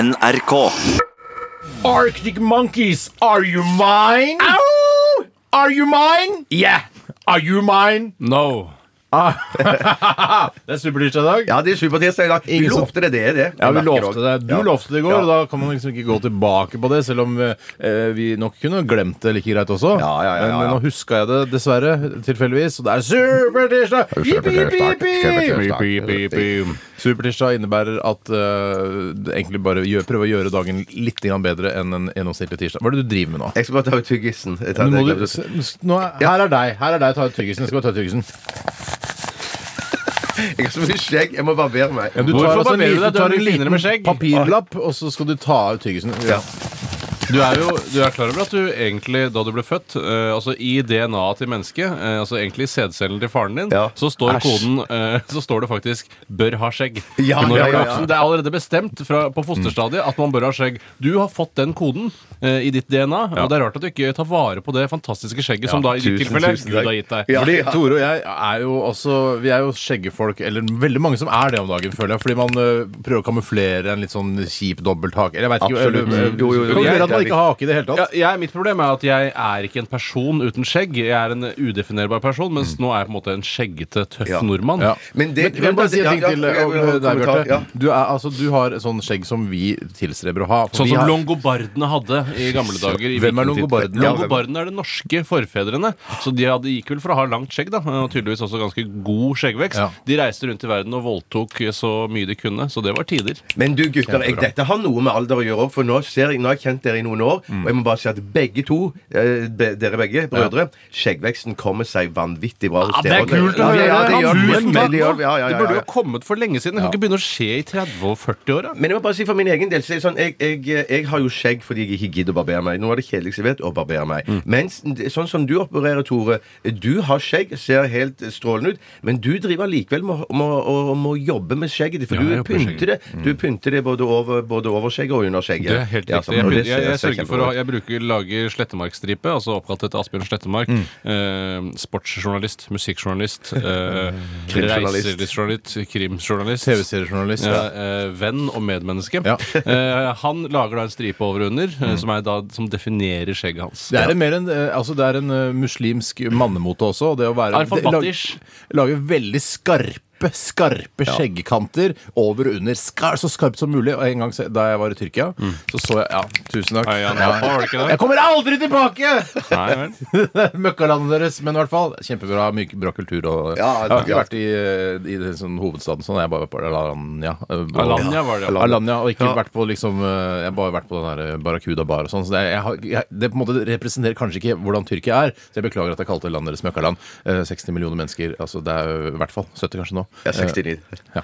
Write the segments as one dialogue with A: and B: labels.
A: NRK.
B: Arctic Monkeys, are you mine? Au! Are you mine?
C: Yeah!
B: Are you mine?
C: No.
B: Det er supertirsdag i dag.
D: Ah. Ja, det er supertirsdag i dag. Vi
B: Ingen som-
D: lovte det, det er det.
B: Ja, vi
D: Jeg merker
B: lovte det.
D: også.
B: Du
D: Ja.
B: lovte det i går,
D: Ja.
B: og da kan man liksom ikke gå tilbake på det, selv om eh, vi nok kunne glemt det like greit også.
D: Ja, ja, ja, ja, ja.
B: Men eh, nå huska jeg det dessverre, tilfeldigvis, og det er supertirsdag! Jippi, jippi, jippi!
D: Supertirsdag.
B: Supertirsdag innebærer at eh, det egentlig bare gjør, prøve å gjøre dagen litt grann bedre enn en gjennomsnittlig tirsdag. Hva er det du driver med nå?
D: Jeg skal bare ta ut tyggisen. Jeg tar
B: Nå
D: det,
B: må
D: jeg
B: du,
D: glemte å-
B: s- nå er, her er deg. Her er deg. Ta ut tyggisen. Jeg skal bare ta ut tyggisen.
D: Jeg har så mye skjegg, jeg må barbere meg.
B: Du tar
C: Hvorfor
B: altså en
C: barberer du
B: liten- du
C: deg? Du
B: tar en
C: er mye finere med
B: liten
C: skjegg.
B: papirlapp, og så skal du ta ut tyggisen. Ja.
C: Du er jo du er klar over at du egentlig, da du ble født, eh, altså i DNA-et til mennesket, eh, altså egentlig i sædcellen til faren din,
D: Ja.
C: så står
D: Æsj.
C: koden eh, Så står det faktisk 'bør ha skjegg'.
D: Ja, ja,
C: Når du er
D: ja, Mm.
C: voksen.
D: ja.
C: Det er allerede bestemt fra, på fosterstadiet at man bør ha skjegg. Du har fått den koden eh, i ditt DNA, og det er rart at du ikke tar vare på det fantastiske skjegget som da i ditt
D: tusen,
C: tilfelle
D: tusen
C: Gud
D: takk.
C: har gitt deg.
D: Ja,
B: Fordi
D: ja.
B: Tore og jeg er jo også Vi er jo skjeggefolk, eller veldig mange som er det om dagen, føler jeg. Fordi man ø, prøver å kamuflere en litt sånn kjip dobbelthake. Eller jeg vet ikke eh,
D: Absolutt.
B: eller, ø,
D: Jo, jo, jo.
B: Kamuflere at
D: Det er
B: man ikke har hake i det hele tatt.
C: Ja, jeg, mitt problem er at jeg er ikke en person uten skjegg. Jeg er en udefinerbar person, mens nå er jeg på en måte en skjeggete, tøff
D: Mm. Ja.
C: nordmann.
B: Ja.
D: Men det-
B: jeg vil bare si en
D: Ja,
B: ting
D: ja,
B: til
D: ja, ja,
B: om
D: ja,
B: deg,
D: kommentar,
B: Bjarte.
D: ja.
B: Du, er, altså, du har et sånn skjegg som vi tilstreber å ha. for
C: Sånn
B: vi har-
C: som longobardene hadde i gamle dager. I
B: Hvem er
C: vikingtid.
B: longobardene?
C: Longobardene er de norske forfedrene. Så de hadde, gikk vel for å ha langt skjegg, da. Og tydeligvis også ganske god skjeggvekst.
B: Ja.
C: De reiste rundt i verden og voldtok så mye de kunne, så det var tider.
D: Men du gutter, jeg, dette har noe med alder å gjøre òg, for nå, ser jeg, nå har jeg kjent dere i noen år,
C: Mm.
D: og jeg må bare si at begge to, eh, be, dere begge, brødre, skjeggveksten kommer seg vanvittig bra hos
C: Ja, det
D: dere.
C: er kult å
D: Ja,
C: høre!
D: Ja, det
C: Han
D: gjør det.
C: husker
D: Men det gjør-
C: nå.
D: ja, ja,
C: Det
D: ja, ja,
C: burde jo ha kommet for lenge siden. Det kan ikke begynne å skje i 30- og 40-åra.
D: Men jeg må bare si for min egen del så er det sånn, jeg, jeg, jeg har jo skjegg fordi jeg ikke gidder å barbere meg. Noe av det kjedeligste jeg vet, å barbere meg.
C: Mm.
D: Mens det- sånn som du opererer, Tore, du har skjegg, ser helt strålende ut, men du driver likevel med å- med å- med å jobbe med skjegget ditt, for
C: Ja, jeg
D: du
C: jobber med Mm.
D: pynter det. Du pynter det både over, både over skjegget og under skjegget.
C: Det er helt
D: Ja,
C: riktig.
D: sånn, og
C: jeg,
D: det
C: jeg,
D: ser-
C: jeg
D: ser
C: sørger for
D: kjempebra
C: å
D: ut.
C: jeg bruker, lager Slettemarkstripe, altså oppkalt etter Asbjørn Slettemark. Eh, sportsjournalist, musikkjournalist, eh,
D: Krimjournalist.
C: reiselivsjournalist, krimjournalist.
B: TV-seriejournalist.
C: Ja, eh, venn og medmenneske.
B: Ja.
C: Eh, han lager da en stripe over og under, eh, som, er da, som definerer skjegget hans.
B: Det er en, mer en, eh, altså det er en eh, muslimsk mannemote også. og Det å være
C: Arfan
B: det- lag-
C: Batish.
B: Lage veldig skarpe, skarpe skjeggkanter over og under. Skar, så skarpt som mulig. Og en gang se- da jeg var i Tyrkia, så så jeg Ja, tusen takk.
C: Hei, Jan, Mm. ja, var det ikke det?
B: Jeg kommer aldri tilbake!
C: Nei, vel.
B: Møkkalandet deres, men i hvert fall kjempebra. Mye bra kultur og
D: Ja,
B: Jeg har ikke
D: ja.
B: vært i, eh, i det, sånn, hovedstaden sånn. Jeg har bare vært på Alanya. eh, og-
C: Alanya var det, ja.
B: Alanya, og ikke
D: Ja.
B: vært på liksom eh, Jeg har bare vært på den der Barracuda bar og sånn. Så det, jeg, har- jeg, det på en måte representerer kanskje ikke hvordan Tyrkia er. Så jeg beklager at jeg kalte landet deres møkkaland. Eh, 60 millioner mennesker. Altså det er jo i hvert fall 70 kanskje nå.
D: Jeg er
B: Eh,
D: 69.
B: ja.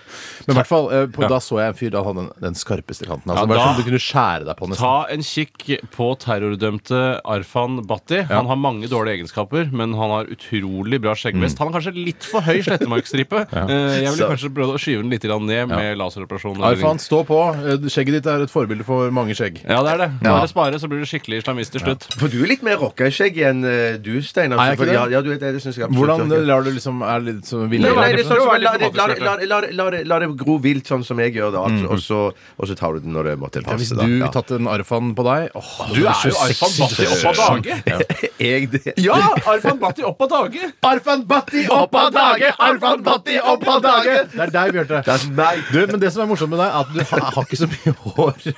B: Men i hvert fall, eh, på, da så jeg en fyr da hadde den, den skarpeste kanten. Altså,
C: Ja,
B: det var
C: da-
B: som du kunne skjære deg på nesten.
C: Ta en kikk på terrordømte Arfan Bhatti. Han har mange dårlige egenskaper, men han har utrolig bra skjeggvest. Han har kanskje litt for høy slettemarkstripe. Eh, Jeg ville
D: Så-
C: kanskje prøvd å skyve den litt grann ned med laseroperasjon. eller-
B: Arfan, stå på. Eh, Skjegget ditt er et forbilde for mange skjegg.
C: Ja, det er det. Bare spare, så blir du skikkelig islamist til slutt.
D: For du er litt mer rocka i skjegg enn eh, du, Steinar.
B: Er jeg ikke
D: For-
B: det?
D: Ja, ja, du vet det, det synes jeg absolutt.
B: Hvordan
D: Ja.
B: lar du liksom er litt sånn ville-
D: Nei, nei, det er sånn
C: Prøv å
D: som,
C: være
D: la,
C: litt
D: la, la,
C: diplomatisk,
D: la, la, la, det- la det gro vilt, sånn som jeg gjør det. Altså,
C: Mm.
D: og, så, og så tar du den når det måtte
B: Ja, Hvis
D: passe. da.
B: du
D: Ja.
B: tatt en Arfan på deg åh,
C: Du er jo Arfan Bhatti opp av dage!
D: Jeg det.
C: Ja! Arfan Bhatti opp av dage!
B: Arfan Bhatti opp av dage! Arfan Bhatti opp av dage! Det er deg, Bjarte.
D: Det er meg.
B: Du, men det som er morsomt med deg, er at du har, har ikke så mye hår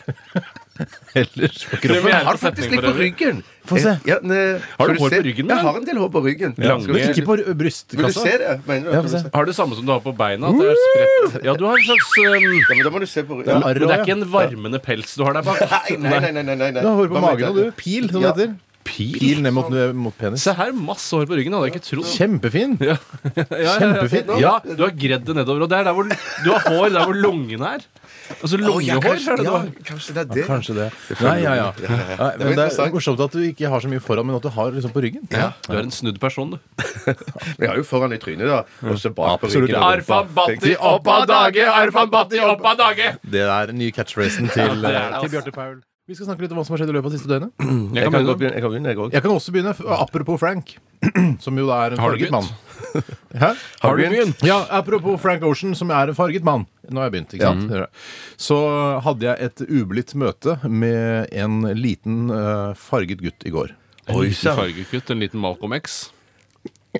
B: ellers på kroppen.
C: Det vil jeg
D: Jeg har
C: gjerne få
D: faktisk
C: setning
D: litt
C: for
D: på
C: øvrig.
D: ryggen. Eh,
B: Få se.
D: Ja, ne-
C: Har du
D: skal
C: hår
D: se?
C: på ryggen,
D: Jeg
C: eller?
D: har en del hår på ryggen.
C: Lange-
D: Skal du se?
B: Ikke på r-
D: Vil du
B: brystkassa.
D: se det? Mener du?
B: Ja,
D: at
B: få
D: du vil
B: se.
D: se?
C: Har du det samme som du har på beina? At det er spredt? Ja, du har en slags um,
D: Ja, men da må du se på
B: Det
D: ryggen.
B: er
C: Men det er
B: arr
C: ikke en varmende pels du har der bak.
D: Nei, nei, nei. nei, nei, nei.
B: Du har hår på
D: Hva
B: magen
D: mener
B: og du. Pil, som det
D: Ja.
B: heter. Pil, ned mot, eh, mot penis.
C: Se her, masse hår på ryggen. Hadde jeg ikke trodd.
B: Kjempefin.
C: Ja. ja,
B: Kjempefint.
C: Ja, du har gredd det nedover. Og det er der hvor du har hår der hvor lungene er. Altså
D: Å, ja,
C: lungehår.
D: kanskje,
C: er det du
D: ja,
C: har.
D: kanskje det er det.
B: Kanskje det. Nei, ja, ja. Nei, men det er
D: interessant.
B: morsomt at du ikke har så mye foran, men at du har liksom på ryggen.
C: Du er en snudd person, du.
D: Men jeg har jo foran i trynet, da. Og så bak på
B: Absolutt.
D: ryggen. og rumpa.
C: Arfan Bhatti opp av dage! Arfan Bhatti opp av dage!
B: Det er den nye catchphrasen til,
C: det er det,
B: til Bjarte Paul. Vi skal snakke litt om hva som har skjedd i løpet av de siste døgnet.
C: Jeg
D: Jeg
C: kan
D: kan godt
C: begynne.
D: begynne, jeg kan begynne, jeg òg.
B: Jeg kan også begynne, f- apropos Frank, som jo da er en
C: Har du
B: farget
C: gutt?
B: mann. Hæ?
C: Har du begynt?
B: Ja, apropos Frank Ocean, som er en farget mann. Nå har jeg begynt, ikke
C: Mm.
B: sant? Så hadde jeg et ublidt møte med en liten eh, farget gutt i går.
C: En
D: Oi,
C: liten
D: sann.
C: fargekutt, en liten Malcolm X.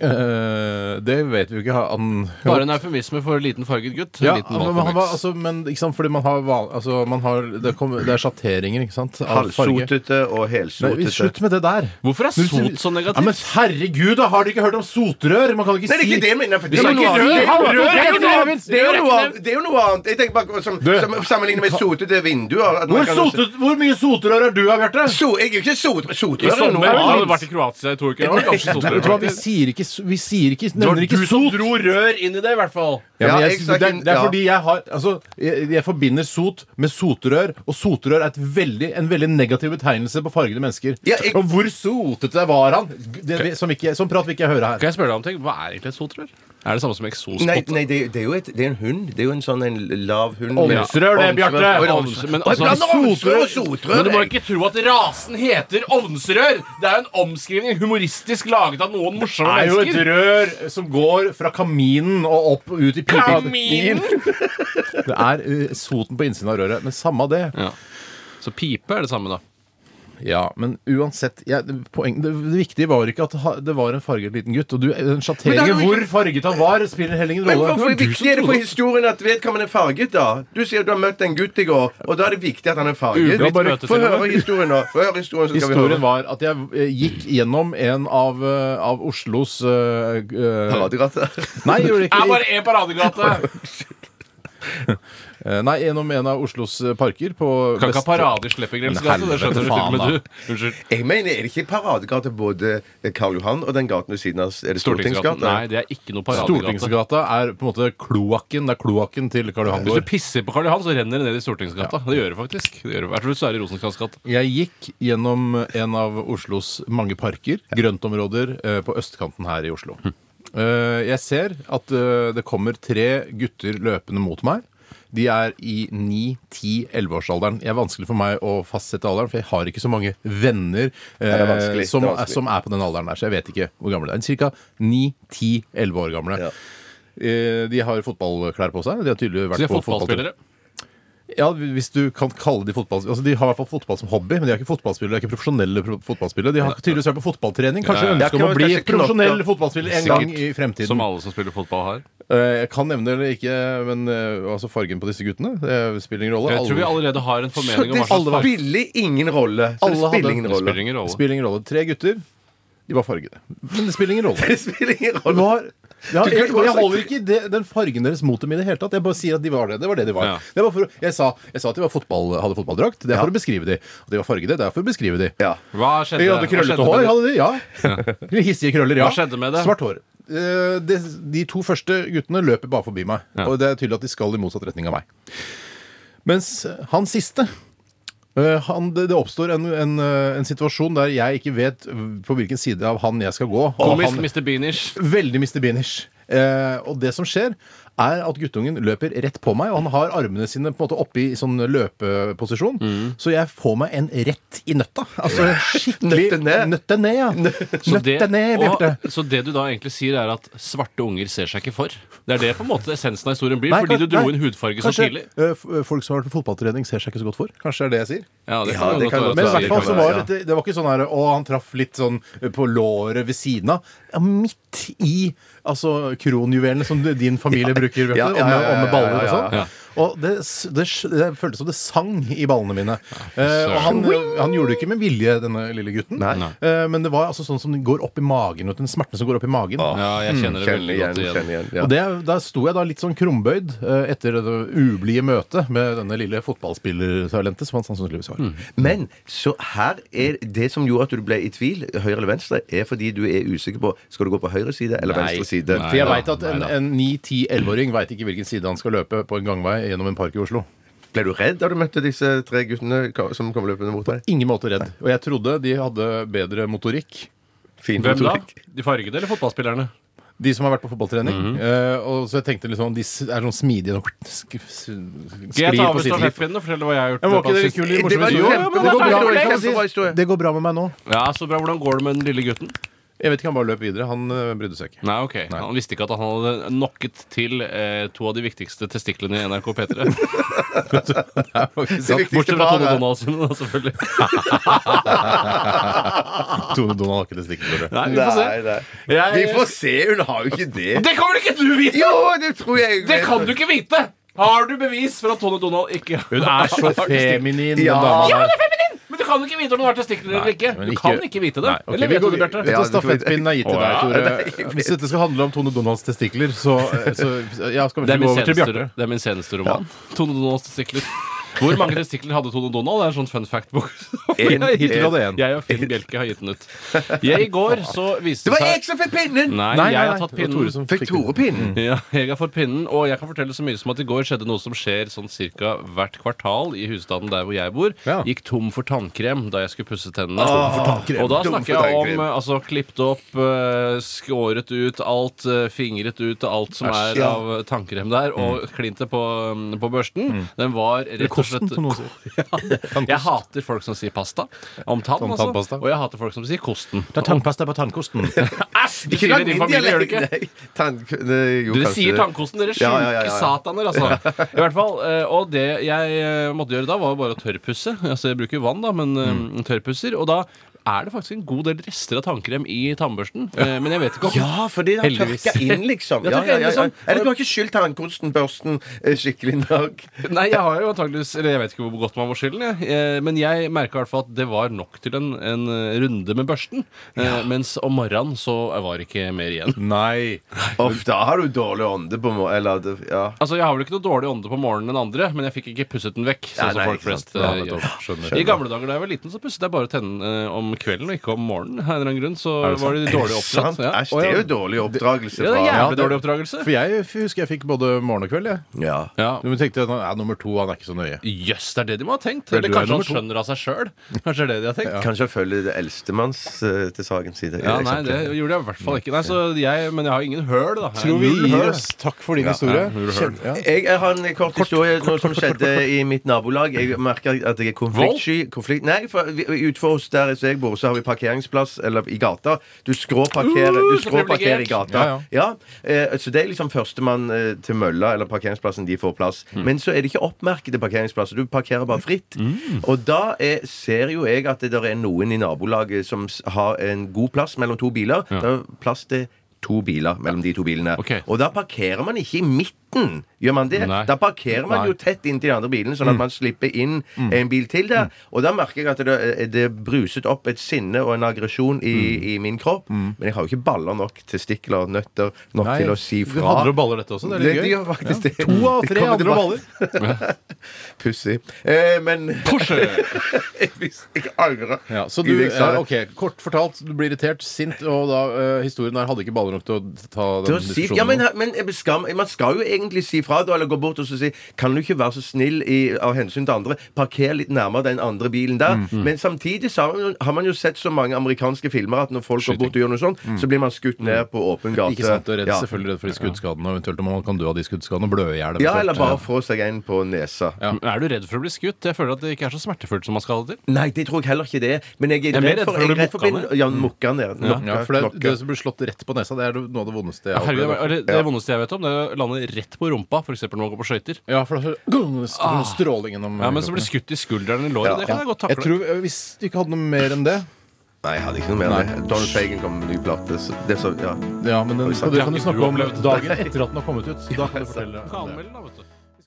B: Eh, det vet vi jo ikke. Han
C: Bare en eufemisme for liten farget gutt. En
B: ja,
C: liten
B: men,
C: Malcolm
B: han var,
C: X.
B: altså, men ikke sant, fordi man har, van- altså, man har det, kommer- det er sjatteringer, ikke sant? av farge.
D: Halvsotete og
B: Nei, vi-
D: helsotete.
B: slutt med det der.
C: Hvorfor er
B: Når du
C: sot
B: sier-
C: så
B: Ja, men
C: negativt?
B: herregud, da har dere ikke hørt om sotrør? Man kan ikke
D: Nei, det er
B: si
D: ikke det jeg mener. For det,
B: Ja,
D: er
B: men
D: ikke
B: nå-
D: rør,
B: Rør- rør-
D: rør, er jo noe
B: rør-
D: annet. det er jo noe annet! Det er jo noe annet. Jeg tenker bare som,
B: Du-
D: som Sammenlignet med sotete vinduer. at
B: Hvor,
D: man kan også-
B: sotet, hvor mye sotrør er du, Bjarte?
D: So, jeg er jo ikke sot,
C: I
D: sotrør.
C: sommer
D: er
C: han
D: noe
C: hadde
D: annet.
C: vært i Kroatia i to uker. Han var kanskje
B: Vet du hva, Vi
C: sotrør.
B: sier ikke, vi sier ikke
C: Det var
B: nevner ikke
C: du som
B: sot.
C: dro rør inn i det, i hvert fall.
B: Ja, men
D: Ja,
B: jeg,
D: jeg
B: det,
D: sa
B: er,
D: ikke-
B: det er
D: ja.
B: fordi jeg har Altså, jeg, jeg forbinder sot med sotrør, og sotrør er et veldig, en veldig negativ betegnelse på fargede mennesker.
D: Ja, jeg-
B: Og hvor sotete var han? Det, vi- som, ikke, som prat vil ikke jeg høre her.
C: Kan jeg spørre deg om ting? Hva er egentlig et sotrør? Er det samme som eksospotte?
D: Nei, nei det, det er jo et, det er en hund. Det er jo en sånn en lav hund.
B: Ovnsrør, det, Bjarte.
D: Ovnsrør. Oi,
C: Ovns-
D: ovnsrør.
C: men
D: Oi,
C: altså-
D: blander ovnsrør og sotrør.
C: Men du må
D: jeg.
C: ikke tro at rasen heter ovnsrør! Det er jo en omskrivning humoristisk laget av noen morsomme
B: Det er jo et
C: mennesker.
B: rør som går fra kaminen og opp og ut i pipa.
C: Kaminen!
B: Det er eh, soten på innsiden av røret. Men samme av det.
C: Ja. Så pipe er det samme, da.
B: Ja, men uansett jeg, poeng, det, det viktige var ikke at ha- det var en farget liten gutt. Og du, eh, den
D: Men det
B: sjatteringen
D: er jo
B: hvor
D: ikke-
B: farget han var, spiller heller ingen
D: Men
B: rolle.
D: hvorfor
B: Det var du
D: viktig er det for historien at vedkommende er farget, da? Du sier du har møtt en gutt i går, og da er det viktig at han er farget.
C: Ublidt
D: Bare-
C: møte
D: Få
C: til og med.
D: høre historien nå. Få høre historien, så skal vi høre.
B: Historien var at jeg eh, gikk gjennom en av, eh, av Oslos eh, eh,
D: Paradegrattet.
B: Nei, jeg gjorde
C: Det er
B: ikke
C: bare én paradegate!
B: Eh, Nei, gjennom en av Oslos eh, parker på
C: Kan ikke ha
B: vest-
C: paradesleppegrensegate. Det skjønner du til og
B: Faen,
C: med
B: da.
C: du. Unnskyld.
D: Jeg mener, er det ikke paradegate både Karl Johan og den gaten ved siden av? Er det
C: Stortingsgata?
D: Stortingsgata?
C: Nei, det er ikke noe paradegate.
B: Stortingsgata er på en måte kloakken. Det er kloakken til Karl Johan
C: Hvis du
B: gård.
C: pisser på Karl Johan, så renner det ned i Stortingsgata. Det gjør det faktisk. Det gjør det. Jeg tror det står i Rosenkrantz gate.
B: Jeg gikk gjennom en av Oslos mange parker, grøntområder, eh, på østkanten her i Oslo.
D: Hm.
B: Eh, Jeg ser at eh, det kommer tre gutter løpende mot meg. De er i 9-10-11-årsalderen. Det er vanskelig for meg å fastsette alderen, for jeg har ikke så mange venner
D: er
B: eh,
D: vanskelig,
B: som,
D: det er vanskelig.
B: som er på den alderen der, så jeg vet ikke hvor gamle de er. Cirka 9-10-11 år gamle.
D: Ja.
B: Eh, De har fotballklær på seg. De har tydelig
C: Så de
B: vært
C: er
B: på fotballtur.
C: fotballspillere.
B: Ja, hvis du kan kalle de fotball... Altså, De har i hvert fall fotball som hobby, men de er ikke fotballspillere, de er ikke profesjonelle pro- fotballspillere. De har tydeligvis vært på fotballtrening. Kanskje
C: Ja, ja.
B: ønsker om å
D: Kanskje
B: bli
D: knotter.
B: profesjonell fotballspiller en gang i
C: Sikkert.
B: fremtiden.
C: Som alle som spiller fotball har.
B: Eh, Jeg kan nevne det eller ikke, men eh, altså fargen på disse guttene det spiller ingen rolle.
C: Jeg tror vi
B: Alle-
C: allerede har en
D: Så
C: formening om
D: det
C: hva slags farge
D: spiller ingen rolle. Så det
B: Alle
D: spiller
B: hadde-
D: ingen
C: det
D: rolle.
C: spiller ingen rolle.
B: spiller ingen rolle. Tre gutter. De var fargede. Men det spiller ingen rolle.
D: Det spiller ingen
B: Det
D: rolle.
B: var ja,
D: Du kunne
B: jeg,
D: bare
B: jeg
D: sagt-
B: holder ikke det, den fargen deres mot dem i det hele tatt. Jeg bare sier at de var det. Det var det de var.
C: Ja.
B: Det var for, å- jeg, sa, jeg sa at de var fotball, hadde fotballdrakt. Det er for å beskrive de. At de var fargede, det er for å beskrive de.
D: Ja.
C: Hva skjedde?
B: De hadde
C: Hva
B: krøllete
C: skjedde med
B: hår,
C: det?
B: hadde de, ja. Hissige krøller, ja.
C: Hva skjedde med det?
B: Svart hår. Eh, De, de to første guttene løper bare forbi meg,
C: Ja.
B: og det er tydelig at de skal i motsatt retning av meg. Mens han siste eh, han, det, det oppstår en, en, eh, en situasjon der jeg ikke vet på hvilken side av han jeg skal gå. og
C: Komisk
B: han,
C: Mr. Beanish.
B: Veldig Mr. Beanish. Eh, og det som skjer, er at guttungen løper rett på meg, og han har armene sine på en måte oppe i sånn løpeposisjon.
C: Mm.
B: Så jeg får meg en rett i nøtta. Altså skikkelig
D: Nøtte ned.
B: Nøtte ned, ja.
C: Så det,
B: Nøtte ned, Bjarte.
C: og, så det du da egentlig sier, er at svarte unger ser seg ikke for? Det er det på en måte essensen av historien blir,
B: Nei,
C: fordi
B: kan-
C: du dro
B: nei,
C: inn hudfarge så
B: Kanskje
C: tidlig?
B: eh, f- eh, folk som har vært på fotballtrening, ser seg ikke så godt for. Kanskje det er det jeg sier.
C: Ja, det
D: Ja,
C: kan,
D: det
C: det
D: kan
C: godt
D: godt
B: Men i
C: være.
B: hvert
D: det
B: fall
D: kan
B: så
D: være,
B: var
D: ja.
B: det, det var ikke sånn her Å, han traff litt sånn eh, på låret ved siden av. Ja, midt i altså, kronjuvelene som du- din familie bruker, vet
D: ja,
B: du.
D: ja,
B: Og med,
D: ja,
B: og med
D: ja,
B: baller og
D: ja, ja,
B: sånn. Og det, s- det, s- det føltes som det sang i ballene mine. Eh, og han, han gjorde det ikke med vilje, denne lille gutten.
D: Nei.
B: Eh, men det var altså sånn som den går opp i magen, og den smerten som går opp i magen.
C: Ja, jeg kjenner
D: Kjenner
C: det veldig
D: igjen.
C: godt igjen.
D: Kjenner igjen ja.
B: Og det, Der sto jeg da litt sånn krumbøyd eh, etter det ublide møtet med denne lille fotballspillertalentet som han sannsynligvis har.
D: Mm. Men så her er det som gjorde at du ble i tvil, høyre eller venstre, er fordi du er usikker på skal du gå på høyre side eller venstre side.
B: For jeg
C: Nei
B: veit
C: da,
B: at en,
C: nei da.
B: en 9-10-11-åring veit ikke hvilken side han skal løpe på en gangvei gjennom en park i Oslo.
D: Ble du redd da du møtte disse tre guttene ka- som kom løpende mot deg?
B: Ingen måte redd. Og jeg trodde de hadde bedre motorikk.
D: Fin
C: Hvem da?
D: motorikk.
C: De fargede eller fotballspillerne?
B: De som har vært på fotballtrening.
C: Mhm.
B: Eh, og så jeg tenkte liksom, de s- er sånn smidige og sk sk-
C: Skal jeg
B: sklir
C: ta
B: på
C: over
B: sitt liv.
C: stafettpinnen og fortelle hva jeg har gjort?
B: Men
C: i
B: var
C: løpet av
B: ikke det
C: siste-
B: kul i
D: Det
B: morsom
D: var
B: historie? Det
D: kjempebra
B: går bra- jeg
D: historie.
B: kan
D: Kjempebra
B: si-
D: historie.
B: Det går bra med meg nå.
C: Ja, Så bra. Hvordan går det med den lille gutten?
B: Eh, Jeg vet ikke, han bare løp videre. Han eh, brydde seg ikke.
C: Nei, ok. Han visste ikke at han hadde nokket til eh, to av de viktigste testiklene i NRK P3.
D: Det viktigste
C: Bortsett fra Tone
D: paret.
C: Donald sine, da, selvfølgelig.
B: Tone Donald har ikke det stikkordet.
C: Nei, vi får se.
D: Nei, nei.
C: Jeg-
D: Vi får se, hun har jo ikke det.
C: Det kommer ikke du vite!
D: Jo, det tror jeg
C: Det kan du ikke vite! Har du bevis for at Tone Donald ikke
B: Hun er så feminin, den
D: Ja.
B: dama
C: Ja,
B: der.
C: hun er feminin! Men du kan ikke vite om hun har testikler eller ikke.
B: men
C: Du
B: ikke-
C: kan ikke vite det.
B: Nei, ok,
C: Eller
B: vi
C: vet
B: går
C: du
B: videre.
C: det, Bjarte?
D: Ja,
B: Dette
D: det tror jeg.
B: stafettpinnen er gitt til
C: Å, ja.
B: deg, Tore. Hvis dette skal handle om Tone Donalds testikler, så, så ja, skal vi ikke
C: Det er
B: gå
C: min
B: over til
C: seneste,
B: Bjarte.
C: det er min seneste roman. Tone Donalds testikler. Hvor mange testikler hadde Tone Donald? Det er en sånn fun fact-bok.
D: En-
B: Hitler hadde en.
C: Jeg og Finn Bjelke har gitt den ut. Jeg I går så viste
D: Det
C: det
D: var jeg
C: seg
D: som fikk pinnen!
B: Nei,
C: Nei,
B: nei,
C: jeg
B: nei,
C: har tatt
B: det var Tore
C: pinnen.
B: som
D: Fikk
B: den.
D: Tore pinnen?
C: Ja, jeg har fått pinnen, og jeg kan fortelle så mye som at i går skjedde noe som skjer sånn cirka hvert kvartal i husstanden der hvor jeg bor.
B: Ja.
C: Gikk tom for tannkrem da jeg skulle pusse tennene.
D: tannkrem.
C: og da
D: Ah, Tom for
C: snakker jeg om
D: tannkrem.
C: eh, altså klippet opp, eh, skåret ut alt, eh, fingret ut alt som er
D: ja.
C: av eh, tannkrem der, og klinte på, mm, på børsten. Den var rett og
B: Kosten,
C: slett
B: som noen sier.
C: Jeg hater folk som sier pasta om tann,
B: Om
C: altså.
B: tannpasta.
C: Og jeg hater folk som sier kosten.
B: Det er tannpasta på tannkosten.
C: Æsj! Du sier det i din familie, gjør du ikke?
D: Nei, tann, det, jo,
C: Dere
D: kanskje
C: sier
D: det.
C: tannkosten, dere sjuke
D: Ja, ja, ja, ja, ja.
C: sataner, altså. I hvert fall, eh, Og det jeg eh, måtte gjøre da, var jo bare å tørrpusse. Altså, jeg bruker vann, da, men eh,
D: Mm.
C: tørrpusser. Og da er det faktisk en god del rester av tannkrem i tannbørsten. Eh, Men jeg vet ikke om
D: Ja, for det har
C: Heldigvis.
D: tørka inn, liksom.
C: Ja,
D: Ja,
C: tørka
D: ja,
C: inn,
D: ja, ja.
C: liksom.
D: Eller du har ikke skylt tannkosten, børsten, eh, skikkelig nok.
C: Nei, jeg har jo antageligvis Eller jeg vet ikke hvor godt man må skylde den. jeg. Eh, Men jeg merka i hvert fall at det var nok til en, en eh, runde med børsten. Eh, Mens om morgenen så var det ikke mer igjen.
B: Nei.
D: Uff, da har du dårlig ånde på må... Eller, det- ja.
C: Altså, Jeg har vel ikke noe dårlig ånde på morgenen enn andre, men jeg fikk ikke pusset den vekk.
D: Nei,
C: Sånn som
D: nei,
C: folk
D: ikke sant.
C: flest eh,
B: Ja, nettopp.
C: gjør.
B: Skjønner.
C: I gamle dager da jeg var liten, så pusset jeg bare tennene eh, om kvelden og ikke om morgenen. Av en eller annen grunn, så
B: Er det
C: var
B: sant?
C: de dårlig
D: Sant?
C: oppdratt. Ja.
D: Æsj, det er jo dårlig oppdragelse
C: ja, det er
D: fra
C: jævlig dårlig oppdragelse.
B: For jeg f- husker jeg fikk både morgen og kveld, jeg.
D: ja.
C: Ja.
B: Men tenkte jeg, ja, nummer to, han er ikke så nøye.
C: Jøss, det er det de må ha tenkt.
B: Vel,
C: Eller
B: du er
C: kanskje
B: nummer
C: han
B: to.
C: skjønner av seg sjøl. Kanskje det er det de har tenkt.
D: Kanskje følge det eldstemanns eh, til sagens side.
C: Ja, nei, det gjorde jeg i hvert fall ikke. Nei, så jeg, men jeg har ingen høl, da.
B: Tror vi
C: Null
B: gir
C: høl.
B: oss takk for din historie. Kjempe- ja.
D: Jeg, jeg har en kort historie noe som skjedde i mitt nabolag. Jeg merker at jeg er konfliktsky. Konflikt, nei, for vi- utenfor oss der jeg bor, så har vi parkeringsplass eller i gata. Du skråparkerer
C: Uh,
D: du
C: så
D: skråparkerer i
C: privilegiert.
D: gata.
B: Ja,
D: eh, så det er liksom førstemann eh, til mølla eller parkeringsplassen de får plass. Men så er det ikke oppmerkede parkeringsplasser. Du parkerer bare fritt. Og da er, ser jo jeg at det der er noen i nabolaget som s- har en god plass mellom to biler. Det er plass til to biler mellom de to bilene.
C: Ok.
D: Og da parkerer man ikke i midten. Gjør man det?
C: Nei.
D: Da parkerer man
C: Nei.
D: jo tett inntil de andre bilene,
B: Mm.
D: sånn at man slipper inn en bil til der. Og da merker jeg at det, det bruset opp et sinne og en aggresjon i,
B: Mm.
D: i min kropp. Men jeg har jo ikke baller nok, testikler, nøtter nok
B: Nei,
D: til å si
B: Det
D: fra.
B: handler om baller, dette også. Det er litt
D: Det- det
B: gøy.
D: gjør faktisk det.
B: To av
D: Det
B: tre
D: kommer
B: handler om
D: tilbake.
B: baller.
D: Pussig. Eh, men Hvis jeg angrer
B: Ja, så
D: i
B: du, eh,
D: det jeg sa.
B: ja, ok, Kort fortalt, du blir irritert, sint, og da eh, historien her hadde ikke baller nok til å ta
D: til
B: den
D: å si, ja, men,
B: diskusjonen.
D: men skal, man skal jo egentlig si fra da, eller gå bort og så si Kan du ikke være så snill i, av hensyn til andre, parker litt nærmere den andre bilen der?
B: Mm,
D: Men samtidig så har, man, har man jo sett så mange amerikanske filmer at når folk går bort og gjør noe sånn, så blir man skutt ned på åpen gate.
B: Mm. Ikke sant, du er redd,
D: ja.
B: selvfølgelig redd for de skuddskadene, og eventuelt om man kan dø av de skuddskadene og blø i hjel.
D: ja, eller
B: eventuelt.
D: bare få seg en på nesa.
C: Er du redd for å bli skutt? Jeg føler at det ikke er så smertefullt som man skal ha det til.
D: Nei, det tror jeg heller ikke det er. Men jeg er
C: er
D: redd
C: mer redd
D: for,
C: for å
D: jeg er
C: bli
D: redd for å bli
C: mokka
D: ja, mokka ned.
B: Mm. Ja, for det, det
D: Mokka, mokka.
B: som blir slått rett på nesa, det er noe av det vondeste jeg har
C: Herregud,
B: opplevd.
C: det, det vondeste jeg vet om, det er å lande rett på rumpa, f.eks. når man går på skøyter.
B: Ja, for det er så- strål- stråling gjennom
C: Ja, men så blir
B: kroppen.
C: det skutt i skulderen eller låret.
D: Ja.
C: Det kan jeg godt
B: Jeg
C: takle.
B: tror, eh, Hvis du ikke hadde noe mer enn det
D: Nei, jeg hadde ikke noe mer enn det. Donald Fagan kom med ny plate. Så det så, ja.
B: Ja, men den,
D: sant.
B: du kan du
C: Det har
B: snakke
C: ikke
B: om
C: du opplevd.
B: dagen etter at den har kommet ut. Så da kan du fortelle
C: Kamel, da, vet du.